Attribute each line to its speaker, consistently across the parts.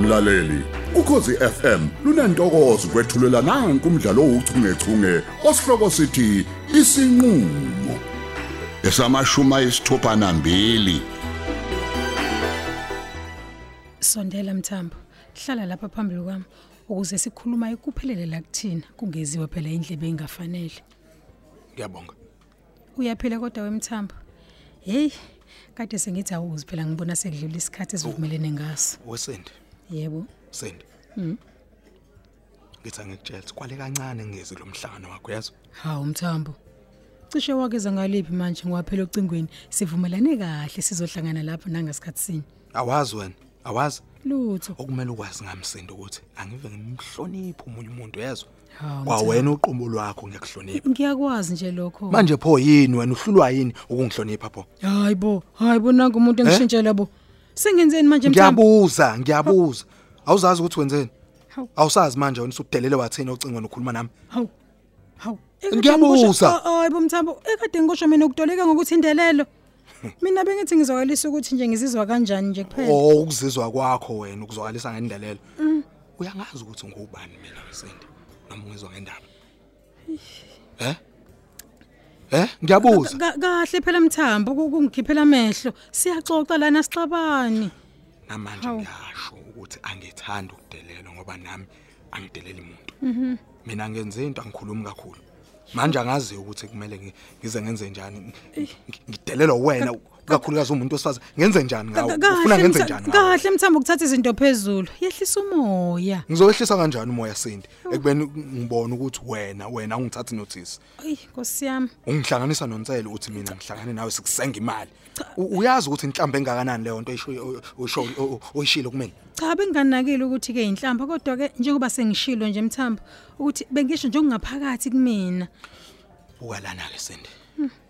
Speaker 1: mlaleli ukhosi FM lunantokozo kwethulela nanku umdlalo ouchungechunge osihloko sithi isinqulo esamashuma isithupha nambili
Speaker 2: sondela mthambo hlala lapha phambili kwami ukuze sikhuluma ikuphelele la kuthina kungeziwe phela indlebe engafanele
Speaker 3: Ngiyabonga.
Speaker 2: uyaphila kodwa wemthambo hey kade sengithi awuzi phela ngibona sekudlula isikhathi esivumelene ngaso
Speaker 3: Wesendi,
Speaker 2: yebo
Speaker 3: sendi. Mhm. Ngithi angikutshela sikwale kancane ngezi lo mhlangano wakho yazo.
Speaker 2: hawu mthambo cishe wakeza ngaliphi manje ngoba phela ocingweni sivumelane kahle sizohlangana lapha nangasikhathi sini
Speaker 3: Awazi wena, awazi
Speaker 2: lutho
Speaker 3: okumele ukwazi ngamsindo ukuthi angive ngimhloniphe umunye umuntu yazo.
Speaker 2: Hawu,
Speaker 3: Kwa
Speaker 2: Mthembu.
Speaker 3: wena uqumbo lwakho ngiyakuhlonipha.
Speaker 2: ngiyakwazi nje lokho
Speaker 3: Manje pho yini wena uhlulwa yini ukungihlonipha pho?
Speaker 2: hayibo hayibo nangu umuntu engishintshela bo sengenzeni manje mthambo
Speaker 3: Ngiyabuza, ngiyabuza. Awuzazi ukuthi wenzeni?
Speaker 2: Hawu.
Speaker 3: Awusazi manje wena usudelele wathina ocingweni ukhuluma nami.
Speaker 2: hawu hawu
Speaker 3: Ngiyabuza.
Speaker 2: hayibo mthambo oh, ekade ngikusho mina ukudoleka ngokuthindelelo mina bengithi ngizwakalisa ukuthi nje ngizizwa kanjani nje kuphela
Speaker 3: Oh, ukuzizwa kwakho wena ukuzwakalisa ngendlalelo.
Speaker 2: Mm.
Speaker 3: Uyangazi ukuthi ngubani mina wesendi noma ungizwa ngendaba. Eh? Eh, ngiyabuza.
Speaker 2: Ka- kahle phela mthambo ku- kungikhiphela amehlo siyaxoxa lana sixabani
Speaker 3: Namanje
Speaker 2: Hawu.
Speaker 3: ngiyasho ukuthi angithandi ukudelelwa ngoba nami angideleli umuntu.
Speaker 2: Mhm.
Speaker 3: Mina ngenze into angikhulumi kakhulu. Manje angazi ukuthi kumele ngi- ngize ngenze njani. Ngi- ngi- Ngidelelwa wena kakhulukazi umuntu osifaza. Ngenze njani
Speaker 2: Ka-
Speaker 3: ngawe?
Speaker 2: ka-
Speaker 3: Ufuna
Speaker 2: kahle
Speaker 3: ngenze
Speaker 2: Mtha-
Speaker 3: njani ngawe?
Speaker 2: kahle mthambo ukuthatha izinto phezulu yehlisa umoya
Speaker 3: Ngizowehlisa kanjani umoya sendi? Ekubeni ngibona ukuthi wena wena ungithatha notice.
Speaker 2: eyi nkosi yami
Speaker 3: ungihlanganisa nonsele uthi mina ngihlangane nawe sikusenga imali U- uyazi ukuthi inhlamba engakanani leyo nto oyisho- oyisho- o- o- oyishilo kumina
Speaker 2: cha benginganakile ukuthi-ke yinhlamba kodwa-ke njengoba sengishilo nje mthambo ukuthi bengisho nje okungaphakathi kumina
Speaker 3: buka lana-ke sendi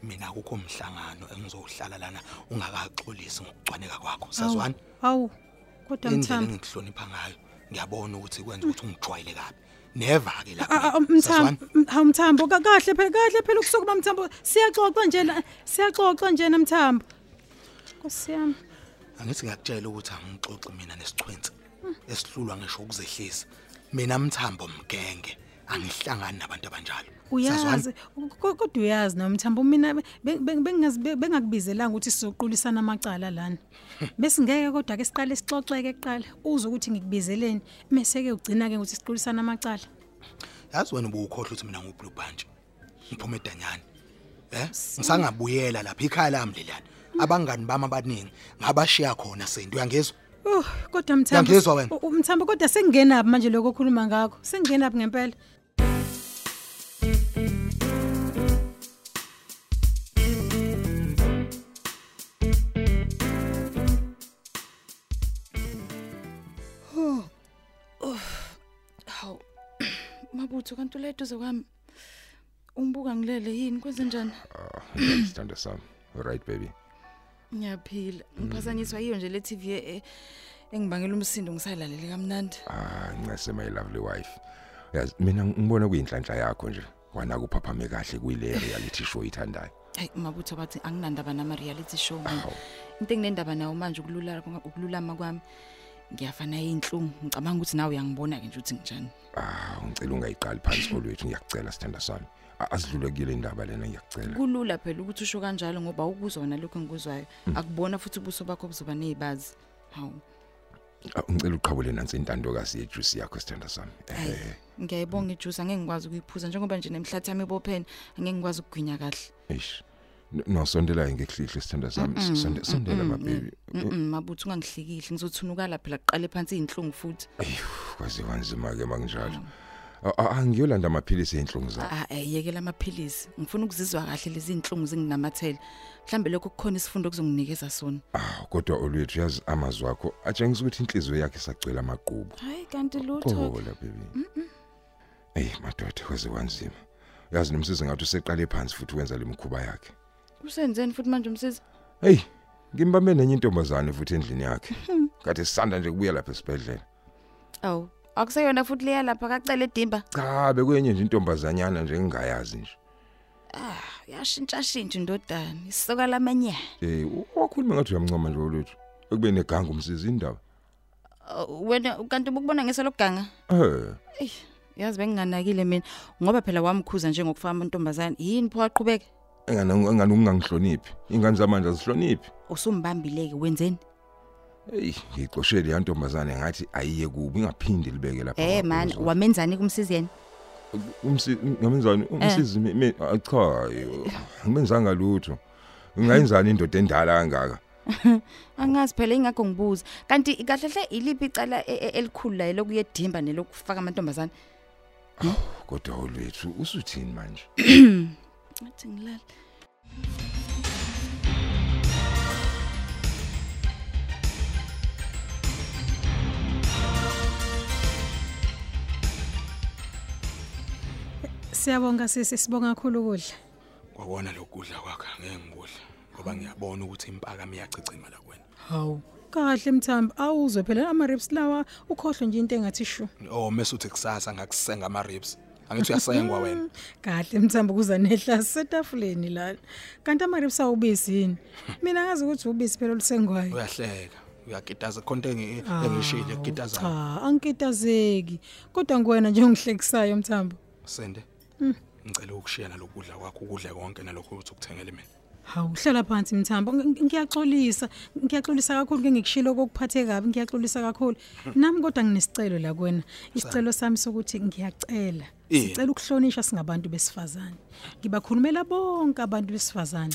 Speaker 3: mina akukho mhlangano engizowuhlala lana ungakaxolisi ngokucwaneka kwakho
Speaker 2: Hawu,
Speaker 3: sazwani
Speaker 2: hawu kodwa
Speaker 3: indlela
Speaker 2: mthambo
Speaker 3: engikuhlonipha ngayo ngiyabona ukuthi kwenza ukuthi ungijwayele kabi never-ke la
Speaker 2: Ah, ah,
Speaker 3: kumina.
Speaker 2: mthambo
Speaker 3: Sazwani?
Speaker 2: m- hawu mthambo ka- kahle phela kahle phela ukusukuba mthambo siyaxoxa nje la- siyaxoxa njena mthambo nkosi yami
Speaker 3: angithi ngiyakutshela ukuthi angixoxi mina nesichwenzi esihlulwa ngisho ukuzehlisa mina mthambo mgenge angihlangani nabantu abanjalo Sazwani?
Speaker 2: uyazi ko- kodwa uyazi nawe mthambo mina be- be- be- bengingazi- be- bengakubizelanga ukuthi sizoqulisana amacala lana bese ngeke kodwa-ke siqale sixoxeke kuqala uze ukuthi ngikubizeleni mese-ke ugcina-ke ukuthi siqulisana amacala
Speaker 3: yazi wena ubuwukhohlwa ukuthi mina ngu-blue bunch ngiphume edanyane eh ngisangabuyela lapha ikhaya lami lelana abangani bami abaningi ngabashiya khona sento uyangezwa
Speaker 2: Uh, kodwa mthambo
Speaker 3: Uyangizwa wena?
Speaker 2: U- u- mthambo kodwa sengingenapi manje lokho okhuluma ngakho sengingenapi ngempela
Speaker 4: Haw. Mabutho kanti uledo zokwami. Umbuka ngilele yini kwenze njani?
Speaker 5: sithando sami alright baby
Speaker 4: Ngiyaphila. Ngiphazanyiswa yiyo nje le TV e- e- engibangela umsindo ngisalalele kamnandi.
Speaker 5: ah ngase my lovely wife yazi mina ngibona kuyinhlanhla yakho nje wana kuphaphame kahle kuyile reality show ithandayo
Speaker 4: Hayi mabutho bathi anginandaba nama reality show mina. Into enginendaba nawo manje ukululama ukululama kwami. Ngiyafana inhlungu. Ngicabanga ukuthi nawe uyangibona ke nje ukuthi nginjani.
Speaker 5: ah ngicela ungayiqali phansi kolwethu ngiyacela sithando sami A- asidlule kule indaba lena ngiyacela
Speaker 4: Kulula phela ukuthi usho kanjalo ngoba ukuzona lokho engikuzwayo. Akubona futhi ubuso bakho buzoba nezibazi. Hawu.
Speaker 5: Ah, ngicela uqhabule nansi intandokazi yejuice yakho sithando sami
Speaker 4: Hayi,
Speaker 5: eh
Speaker 4: ngiyayibonga ijuice angeke ngikwazi ukuyiphuza njengoba nje nemhlathi yami ibophene angeke ngikwazi ukugwinya kahle
Speaker 5: eish No- nosondela ngekuhlihle sithando sami S- sonde- sondela my baby
Speaker 4: Mm, mabutho ungangihlikihli ngizothunuka phela kuqale phansi izinhlungu futhi
Speaker 5: kwaziwa nzima ke makunjalo Ah, ah, angiyolanda amaphilisi enhlungu zakho
Speaker 4: ah ayiyekela amaphilisi ngifuna ukuzizwa kahle lezi zinhlungu zinginamathele mhlambe lokho kukhona isifundo kuzonginikeza sona
Speaker 5: Ah, kodwa olwethu yazi amazwi akho atshengisa ukuthi inhliziyo yakhe isagcwele amaqhubu.
Speaker 4: hayi kanti
Speaker 5: Khola baby. Eh madoda kwaze kwanzima. Uyazi nomsizi ngathi useqale phansi futhi wenza lemkhuba yakhe.
Speaker 4: usenzeni futhi manje umsizi
Speaker 5: Hey, ngimbambe nenye intombazane futhi endlini yakhe. Ngathi sisanda nje kubuya lapha esibedlela.
Speaker 4: awu akuseyona futhi leya lapha kacela edimba
Speaker 5: Cha, bekuyenye nje intombazanyana nje engingayazi nje.
Speaker 4: uyashintshashintsha indodana isoka lamanyana
Speaker 5: Eh, wakhuluma ngathi uyamncoma nje olwethu. Ekubeni eganga umsizi indaba.
Speaker 4: Uh, wena kanti ubukubona ngeseloganga
Speaker 5: Eh,
Speaker 4: eyi yazi benginganakile mina ngoba phela wamkhuza njengokufaka amantombazane yini pho aqhubeke
Speaker 5: engane engane ungangihloniphi. Ingane zamanje azihloniphi.
Speaker 4: usumbambile-ke wenzeni
Speaker 5: Hey, ngiqoshele yantombazane ngathi ayiye kubi ingaphindi libeke lapha.
Speaker 4: Eh man
Speaker 5: kwabhuzwa.
Speaker 4: wamenzani kumsizi yena
Speaker 5: umsi ngamenzani umsizi mi- mi- ah, cha yo, ngimenzanga lutho. Ngayenzani indoda endala kangaka?
Speaker 4: angazi phela ingakho ngibuza kanti kahle hle iliphi icala e- e- elikhulu la lokuyedimba nelokufaka amantombazane
Speaker 5: Kodwa olwethu usuthini manje?
Speaker 4: ngathi ngilala
Speaker 2: Siyabonga sisi sibonga kakhulu ukudla.
Speaker 3: kwakona lokudla kwakhe angeke ngikudla ngoba ngiyabona ukuthi impaka miyachicima la kwena
Speaker 4: hawu
Speaker 2: Kahle mthambi awuzwe phela ama ribs lawa ukhohle nje into engathi shu.
Speaker 3: oh mase uthi kusasa ngakusenga ama ribs angithi uyasengwa wena
Speaker 2: Kahle mthambi kuza nehla setafuleni la. Kanti ama ribs awubisi yini? Mina ngazi ukuthi ubisi phela olusengwayo.
Speaker 3: uyahleka uyakitaza konke engi- engishilo ekitaza
Speaker 2: Cha, angikitazeki. Kodwa ngwena nje ongihlekisayo mthambi.
Speaker 3: sende ngicela ukushiya nalokudla kwakho ukudle konke nalokho ukuthi ukuthengele mina
Speaker 2: Hawu hlala phansi mthambo Ngi- ngiyaxolisa ngiyaxolisa kakhulu ke ngikushilo kokuphathe kabi ngiyaxolisa kakhulu nami kodwa nginesicelo la kuwena isicelo sami sokuthi ngiyacela
Speaker 3: Eh.
Speaker 2: sicela ukuhlonishwa singabantu besifazane ngibakhulumela bonke abantu besifazane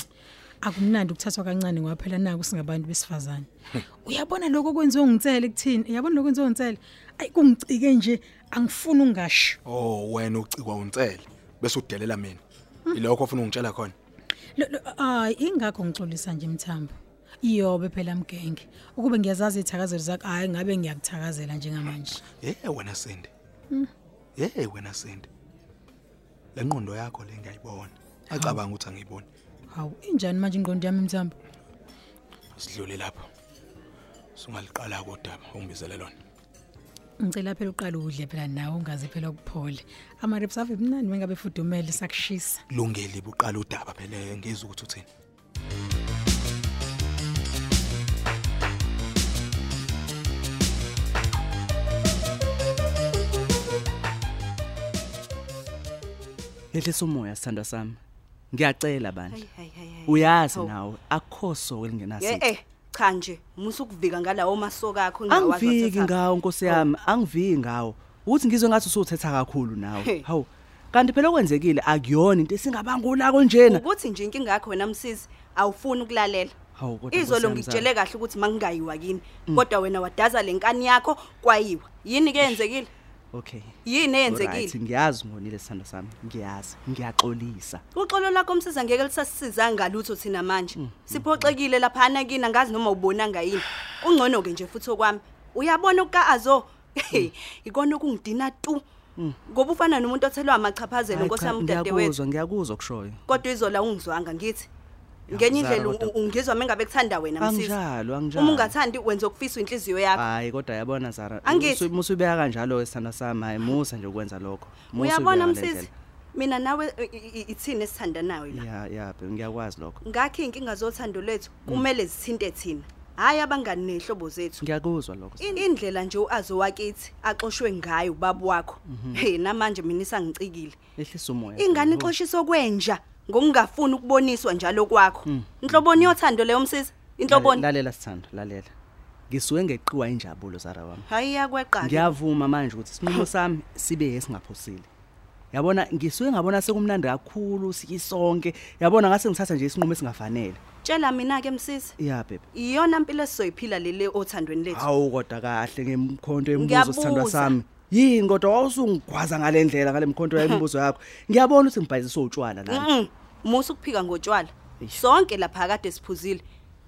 Speaker 2: akumnandi ukuthathwa kancane ngaphela naku singabantu besifazane uyabona lokho kwenziwe ngitsele kuthini uyabona lokho kwenziwe ngitsele ayi kungicike nje angifuni ungasho
Speaker 3: oh wena ucikwa unsele bese udelela mina ilokho ofuna ungitshela khona
Speaker 2: Lo- lo- hayi ingakho ngixolisa nje mthambo iyobe phela mgenge ukube ngiyazazi iy'thakazelo zakho hhayi ngabe ngiyakuthakazela njengamanje
Speaker 3: yey wena sende yey wena sende le nqondo yakho le ngiyayibona acabanga ukuthi angiyiboni
Speaker 2: hawu injani manje ingqondo yami mthambo
Speaker 3: sidlule lapho singaliqala kodaba ungibizele lona
Speaker 2: ngicela phela uqale udle phela nawe ungaze phela kuphole ama-rips ave mnandi mengabe fudumele sakushisa
Speaker 3: lungeli buqala udaba phela ngizwe ukuthi uthini
Speaker 6: Yehlisa umoya sithandwa sami. Ngiyacela bandla.
Speaker 7: hayi hayi
Speaker 6: Uyazi
Speaker 7: Hawu.
Speaker 6: nawe akho so
Speaker 7: ye
Speaker 6: elingenasithi.
Speaker 7: eh cha nje musa ukuvika ngalawo masoko akho ngingawazi
Speaker 6: Angiviki
Speaker 7: wasekhaya.
Speaker 6: ngawo Nkosi yami, angiviki ngawo. Uthi ngizwe ngathi usuthetha kakhulu
Speaker 7: Hey.
Speaker 6: nawe. Hawu. Kanti phela okwenzekile akuyona into esingabangula konjena.
Speaker 7: ukuthi nje inkinga yakho wena msisi awufuni ukulalela
Speaker 6: Hawu, kodwa Nkosi
Speaker 7: izolo
Speaker 6: yami, Mm.
Speaker 7: ngikutshele kahle ukuthi mangingayiwa kini kodwa wena wadaza lenkani yakho kwayiwa yini ke yenzekile
Speaker 6: Okay.
Speaker 7: yini
Speaker 6: Alright,
Speaker 7: eyenzekile
Speaker 6: Ngiyazi ngonile sithando sami. Ngiyazi. Ngiyaxolisa.
Speaker 7: uxolo lakho msiza ngeke lisasisiza ngalutho thina manje
Speaker 6: Mm,
Speaker 7: siphoxekile laphana kini angazi noma ubona ngayini ungcono ke nje futhi okwami uyabona ukaazo
Speaker 6: Mm.
Speaker 7: ikona okungidina tu ngoba ufana nomuntu othelwa amachaphazelo
Speaker 6: Hayi
Speaker 7: nkosi
Speaker 6: cha,
Speaker 7: yami udadewethu
Speaker 6: Ngiyakuzwa, ngiyakuzwa kushoyo.
Speaker 7: kodwa izola ungizwanga ngithi ngenye
Speaker 6: Zara,
Speaker 7: indlela
Speaker 6: kodwa-
Speaker 7: u- ungizwa mengabe kuthanda wena msisi
Speaker 6: Anginjalo, anginjalo.
Speaker 7: uma ungathandi wenza ukufisa inhliziyo yakho
Speaker 6: Hayi kodwa yabona Zara
Speaker 7: Angithi.
Speaker 6: musubeka kanjalo esithando sami hayi musa nje ukwenza lokho Musa
Speaker 7: uyabona
Speaker 6: ubeka ngale
Speaker 7: msisi mina nawe i- i- i- ithini esithandanayo
Speaker 6: ndlela. ya
Speaker 7: la
Speaker 6: ya babe, ngiyakwazi lokho
Speaker 7: ngakho iy'nkinga zothando lwethu kumele zithinte thina hhayi abangani ney'hlobo zethu
Speaker 6: ngiyakuzwa lokho
Speaker 7: In- indlela nje u-azo wakithi axoshwe ngayo ubaba wakho hey namanje mina isangicikile
Speaker 6: ehlisa umoya
Speaker 7: ingane ixoshiswe kwenja ngokungafuni ukuboniswa njalo kwakho inhloboni yothando leyo msisi inhloboni
Speaker 6: lalela sithando lalela ngisuke ngeqiwa injabulo zara wami
Speaker 7: hhayi iyakweqa-ke
Speaker 6: ngiyavuma manje ukuthi isinqumo sami sibe esingaphosile yabona ngisuke ngabona sekumnandi kakhulu sikisonke yabona ngase ngithatha nje isinqumo esingafanele
Speaker 7: tshela mina-ke msisi
Speaker 6: ya bebe
Speaker 7: iyona mpilo esizoyiphila lele othandweni lethu
Speaker 6: hawu kodwa kahle ngemkhonto yemibuzo sithandwa
Speaker 7: Ngiyabuza.
Speaker 6: sami yini kodwa wawusungigwaza ngale ndlela ngale mkhonto yemibuzo yakho ngiyabona ukuthi ngibhayisise utshwala lana
Speaker 7: Mm-mm, musa ukuphika ngotshwala sonke lapha kade siphuzile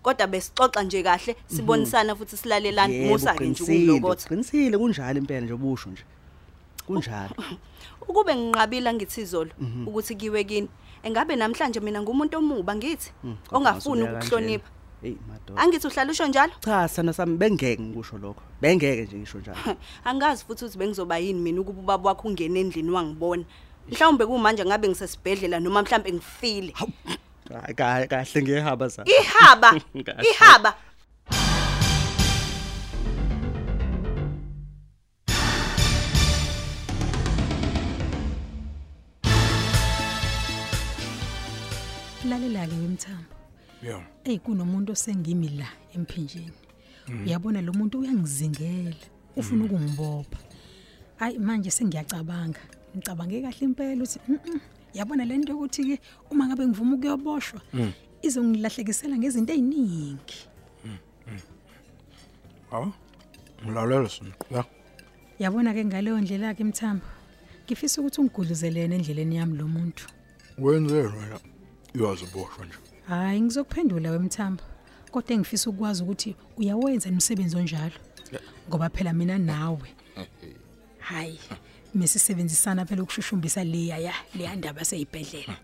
Speaker 7: kodwa besixoxa nje kahle
Speaker 6: Mhm.
Speaker 7: sibonisana futhi silalelana musa-ke nje ukumlokotha
Speaker 6: qinisile kunjalo impela nje busho nje kunjalo
Speaker 7: ukube nginqabile ngithi izolo
Speaker 6: Mhm.
Speaker 7: ukuthi kiwe kini engabe namhlanje mina ngumuntu omuba ngithi
Speaker 6: Mm, kodwa
Speaker 7: ongafuni
Speaker 6: ngasubeka
Speaker 7: ukukuhlonipha
Speaker 6: kanjena. eyi madoda
Speaker 7: angithi uhlala usho njalo
Speaker 6: cha sithanda sami bengeke ngikusho lokho bengeke nje ngisho njalo
Speaker 7: angazi futhi ukuthi bengizoba yini mina ukuba ubaba wakho ungene endlini wangibona mhlawumbe kumanje ngabe ngisesibhedlela noma mhlawumbe ngifile
Speaker 6: Hayi, ka- kahle ngiyehaba sa
Speaker 7: ihaba
Speaker 6: Kahle.
Speaker 7: ihaba
Speaker 2: lalela-ke wemthambo
Speaker 3: Yho.
Speaker 2: eyi kunomuntu osengimi la emphinjeni uyabona lo muntu uyangizingela ufuna ukungibopha hayi manje sengiyacabanga ngicabange kahle impela uthi "Mm-mm, yabona le nto yokuthi-ke uma ngabe ngivuma ukuyoboshwa izongilahlekisela ngezinto ey'ningi
Speaker 3: Hawu. Ngilalela siniqhubeka.
Speaker 2: yabona-ke ngaleyo ndlela-ke mthambo ngifisa ukuthi ungiguduzelene endleleni yami lo muntu
Speaker 3: Wenze wena. Uyaziboshwa nje.
Speaker 2: hhayi ngizokuphendula wemthambo kodwa engifisa ukwazi ukuthi uyawenza nomsebenzi onjalo ngoba phela mina nawe hhayi mesisebenzisana phela ukushushumbisa leya ya leya ndaba seyibhedlela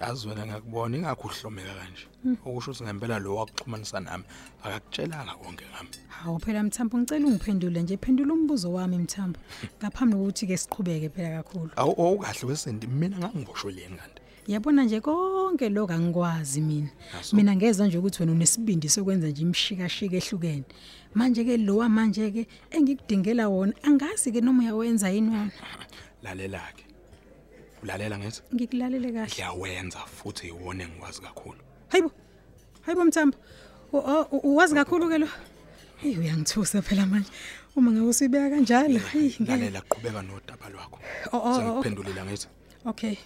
Speaker 3: Yazi wena ngakubona ingakho uhlomeka kanje. Okusho ukuthi ngempela lo wakuxhumanisa nami akakutshelanga konke ngami.
Speaker 2: hawu phela mthambo ngicela ungiphendule nje phendula umbuzo wami mthambo ngaphambi kokuthi-ke siqhubeke phela kakhulu
Speaker 3: Awu owukahle wesendi mina ngangiboshweleni kanti.
Speaker 2: yabona nje konke lokhu angikwazi mina mina ngezwa nje ukuthi wena unesibindi sokwenza nje imishikashika ehlukene manje-ke lowa manje-ke engikudingela wona angazi-ke noma uyawenza yini wona
Speaker 3: Lalela ke. Ulalela ngathi
Speaker 2: ngikulalele kahle
Speaker 3: ngiyawenza futhi iwone engikwazi kakhulu.
Speaker 2: hayibo hayibo mthambo U- o- u- uwazi kakhulu-ke lo eyi uyangithusa phela manje uma ngabe usuyibeka kanjalo eyi, ngeke-
Speaker 3: Lalela qhubeka nodaba lwakho.
Speaker 2: Oh, oh, oh.
Speaker 3: Sengiphendulile ngathi.
Speaker 2: okay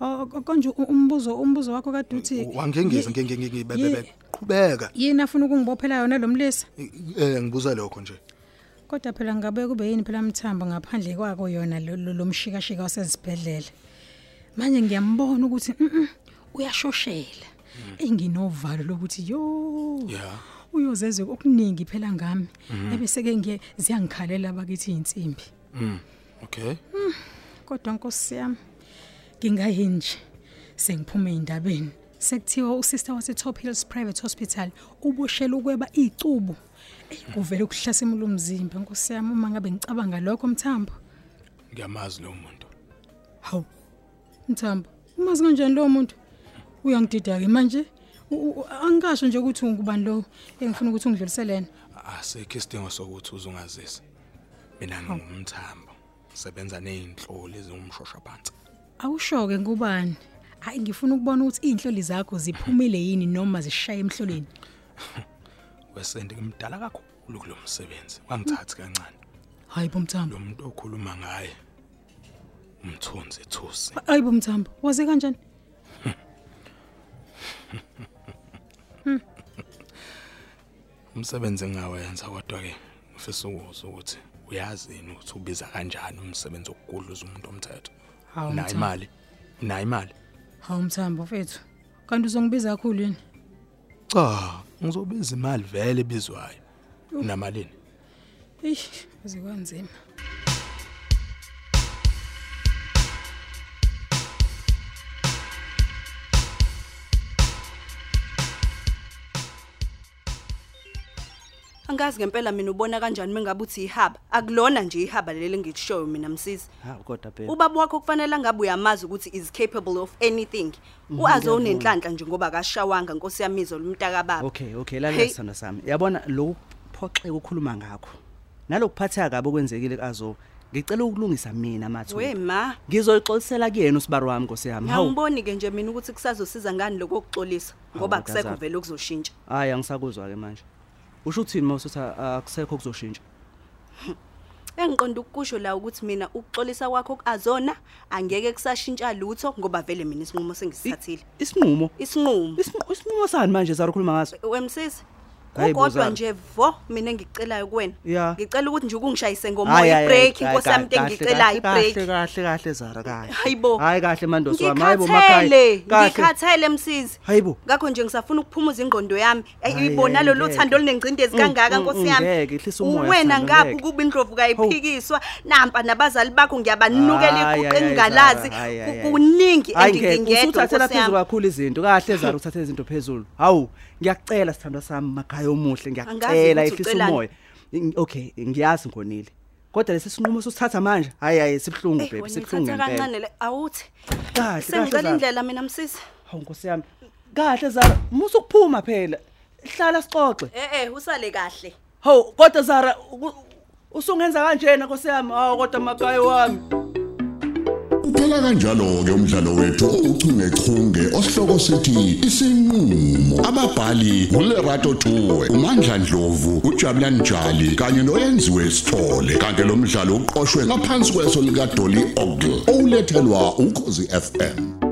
Speaker 2: O- o- konje u- umbuzo umbuzo wakho kade uthi
Speaker 3: Wangengeza
Speaker 2: Ye-
Speaker 3: ngeke ngeke
Speaker 2: ye-
Speaker 3: bebebe. Qhubeka.
Speaker 2: yini afuna ukungibophela yona lo mlisa
Speaker 3: Eh ngibuza lokho nje.
Speaker 2: kodwa phela ngabe kube yini phela mthambo ngaphandle kwako yona lo- lo lo mshikashika wasezibhedlela manje ngiyambona ukuthi mm uyashoshela enginovalo lokuthi yo
Speaker 3: Yeah.
Speaker 2: uyozeze okuningi phela ngami ebese ke ngiye ziyangikhalela bakithi insimbi
Speaker 3: Mm. Okay.
Speaker 2: kodwa nkosi yami ngingayini nje sengiphume endabeni sekuthiwa usister wase-top hills private hospital uboshela ukweba iy'cubu eyi kuvele kuhlasimula umzimba nkosi yami uma ngabe ngicabanga lokho mthambo
Speaker 3: Ngiyamazi lo muntu.
Speaker 2: hawu mthambo umazi kanjani lowo muntu uyangidida-ke manje U- u- angikasho nje ukuthi ngubani lo engifuna ukuthi ungidluliselena
Speaker 3: asikho isidingo sokuthi uzungazise mina ngingumthambo ngisebenza ney'nhloli eziwumshosha phansi
Speaker 2: awusho-ke ngubani hhayi ngifuna ukubona ukuthi iy'nhloli zakho ziphumile yini noma zishaye emhloleni
Speaker 3: wesendi ngimdala kakhulu kulo msebenzi wangithathi kancane
Speaker 2: hhayi bomthambo
Speaker 3: lo muntu okhuluma ngaye umthunzi thusi
Speaker 2: ayi bomthambo wazi kanjani
Speaker 3: umsebenzi engawenza kodwa-ke ngifisa ukuza ukuthi uyazini ukuthi ubiza kanjani umsebenzi wokugudluza umuntu omthetho
Speaker 2: Hawu,
Speaker 3: nayo
Speaker 2: Mthambo.
Speaker 3: imali nayo imali
Speaker 2: hawu mthambo fethu kanti uzongibiza kakhulu yini
Speaker 3: cha ngizobiza imali vele ebizwayo namalini
Speaker 2: eyi waze kwanzima
Speaker 7: angazi ngempela mina ubona kanjani mengabe uthi ihaba akulona nje ihaba leli engikushoyo mina msisi
Speaker 6: hawu kodwa phela
Speaker 7: ubaba wakho kufanele angabe uyamazi ukuthi is capable of anything
Speaker 6: Mhm,
Speaker 7: uazo unenhlanhla nje ngoba akashawanga nkosi yamizo lumntakababa
Speaker 6: okay okay lalela sithando sami yabona loku phoxeka ukhuluma ngakho nalokuphatheka kabi okwenzekile kazo ngicela ukulungisa mina
Speaker 7: we
Speaker 6: mathu
Speaker 7: ma
Speaker 6: ngizoyixolisela kuyena usibari wami nkosi yami hawu
Speaker 7: angiboni-ke nje mina ukuthi kusazosiza ngani lokho kokuxolisa ngoba
Speaker 6: Hawu,
Speaker 7: kusekho
Speaker 6: Ntazana.
Speaker 7: vele okuzoshintsha
Speaker 6: hayi angisakuzwa-ke manje usho ukuthini ma usuthi ah, akusekho kuzoshintsha
Speaker 7: engiqonda ukukusho la ukuthi mina ukuxolisa kwakho ku-azona angeke kusashintsha lutho ngoba vele mina isinqumo
Speaker 6: I-
Speaker 7: sengisithathile
Speaker 6: isinqumo
Speaker 7: isinqumo
Speaker 6: Isinqu- isinqumo sani manje zara ukhuluma ngaso
Speaker 7: wemsisi
Speaker 6: Hhayi,
Speaker 7: kukodwa
Speaker 6: Buzani.
Speaker 7: nje vo mina engikucelayo kuwena
Speaker 6: Ya.
Speaker 7: ngicela ukuthi nje ukungishayise
Speaker 6: Hhayi,
Speaker 7: ngomoya
Speaker 6: hhayi,
Speaker 7: ibreak
Speaker 6: hhayi,
Speaker 7: inkosi yami into
Speaker 6: kahle,
Speaker 7: engicelayo
Speaker 6: kahle,
Speaker 7: ibreak
Speaker 6: kahle kahle kahle zara kahle
Speaker 7: Hayi bo.
Speaker 6: hayi kahle mandosi wami hayi bo
Speaker 7: ngikhathele
Speaker 6: kahle
Speaker 7: ngikhathele msizi
Speaker 6: Hayi bo.
Speaker 7: ngakho nje ngisafuna ukuphumuza ingqondo yami Ayi,
Speaker 6: Hhayi,
Speaker 7: uyibona
Speaker 6: hhayi,
Speaker 7: lolu
Speaker 6: ngeke.
Speaker 7: thando olunengcindezi
Speaker 6: Mm,
Speaker 7: kangaka
Speaker 6: mm,
Speaker 7: nkosi
Speaker 6: mm,
Speaker 7: yami
Speaker 6: ngeke, hlisa umoya,
Speaker 7: uwena
Speaker 6: Thando,
Speaker 7: ngaphi
Speaker 6: ngeke.
Speaker 7: kuba indlovuka
Speaker 6: Hawu.
Speaker 7: iphikiswa nampa nabazali bakho ngiyabanukela
Speaker 6: Hhayi, hhayi,
Speaker 7: iguqe
Speaker 6: hhayi,
Speaker 7: engingalazi
Speaker 6: Zara, hhayi, hhayi,
Speaker 7: Ku-
Speaker 6: hhayi.
Speaker 7: kuningi
Speaker 6: hayi
Speaker 7: and
Speaker 6: ngeke
Speaker 7: ngingedwa
Speaker 6: usuthathela
Speaker 7: nkosi
Speaker 6: phezulu
Speaker 7: yami
Speaker 6: kakhulu izinto kahle zara uthathela izinto phezulu hawu ngiyakucela sithandwa sami makhaya omuhle
Speaker 7: Angazi
Speaker 6: ngiyakucela
Speaker 7: ukuthi
Speaker 6: ehlisa
Speaker 7: ucelani.
Speaker 6: umoya I- okay ngiyazi ngonile kodwa lesi sinqumo sosithatha manje hayi hayi sibuhlungu
Speaker 7: Eh,
Speaker 6: bebe
Speaker 7: wena
Speaker 6: sibuhlungu
Speaker 7: uyithatha
Speaker 6: ngempela
Speaker 7: kancane le awuthi
Speaker 6: Kahle, kahle,
Speaker 7: sengicela
Speaker 6: Zara.
Speaker 7: indlela mina msisi
Speaker 6: hawu nkosi yami kahle zara musa ukuphuma phela hlala sixoxe
Speaker 7: e-e Eh, usale kahle
Speaker 6: hawu kodwa zara uku- usungenza kanjena nkosi yami hawu kodwa makhaya wami
Speaker 1: Uphela kanjalo ke umdlalo wethu uchungechunge osihloko sithi isinqulo. Ababhali uLerato Tuwe, uMandla Dlovu, uJabulani Njali kanye noyenziwe Sithole. Kanti lo mdlalo uqoqwwe ngaphansi kweso lika Dolly Ogle. Olethelwa ukhosi FM.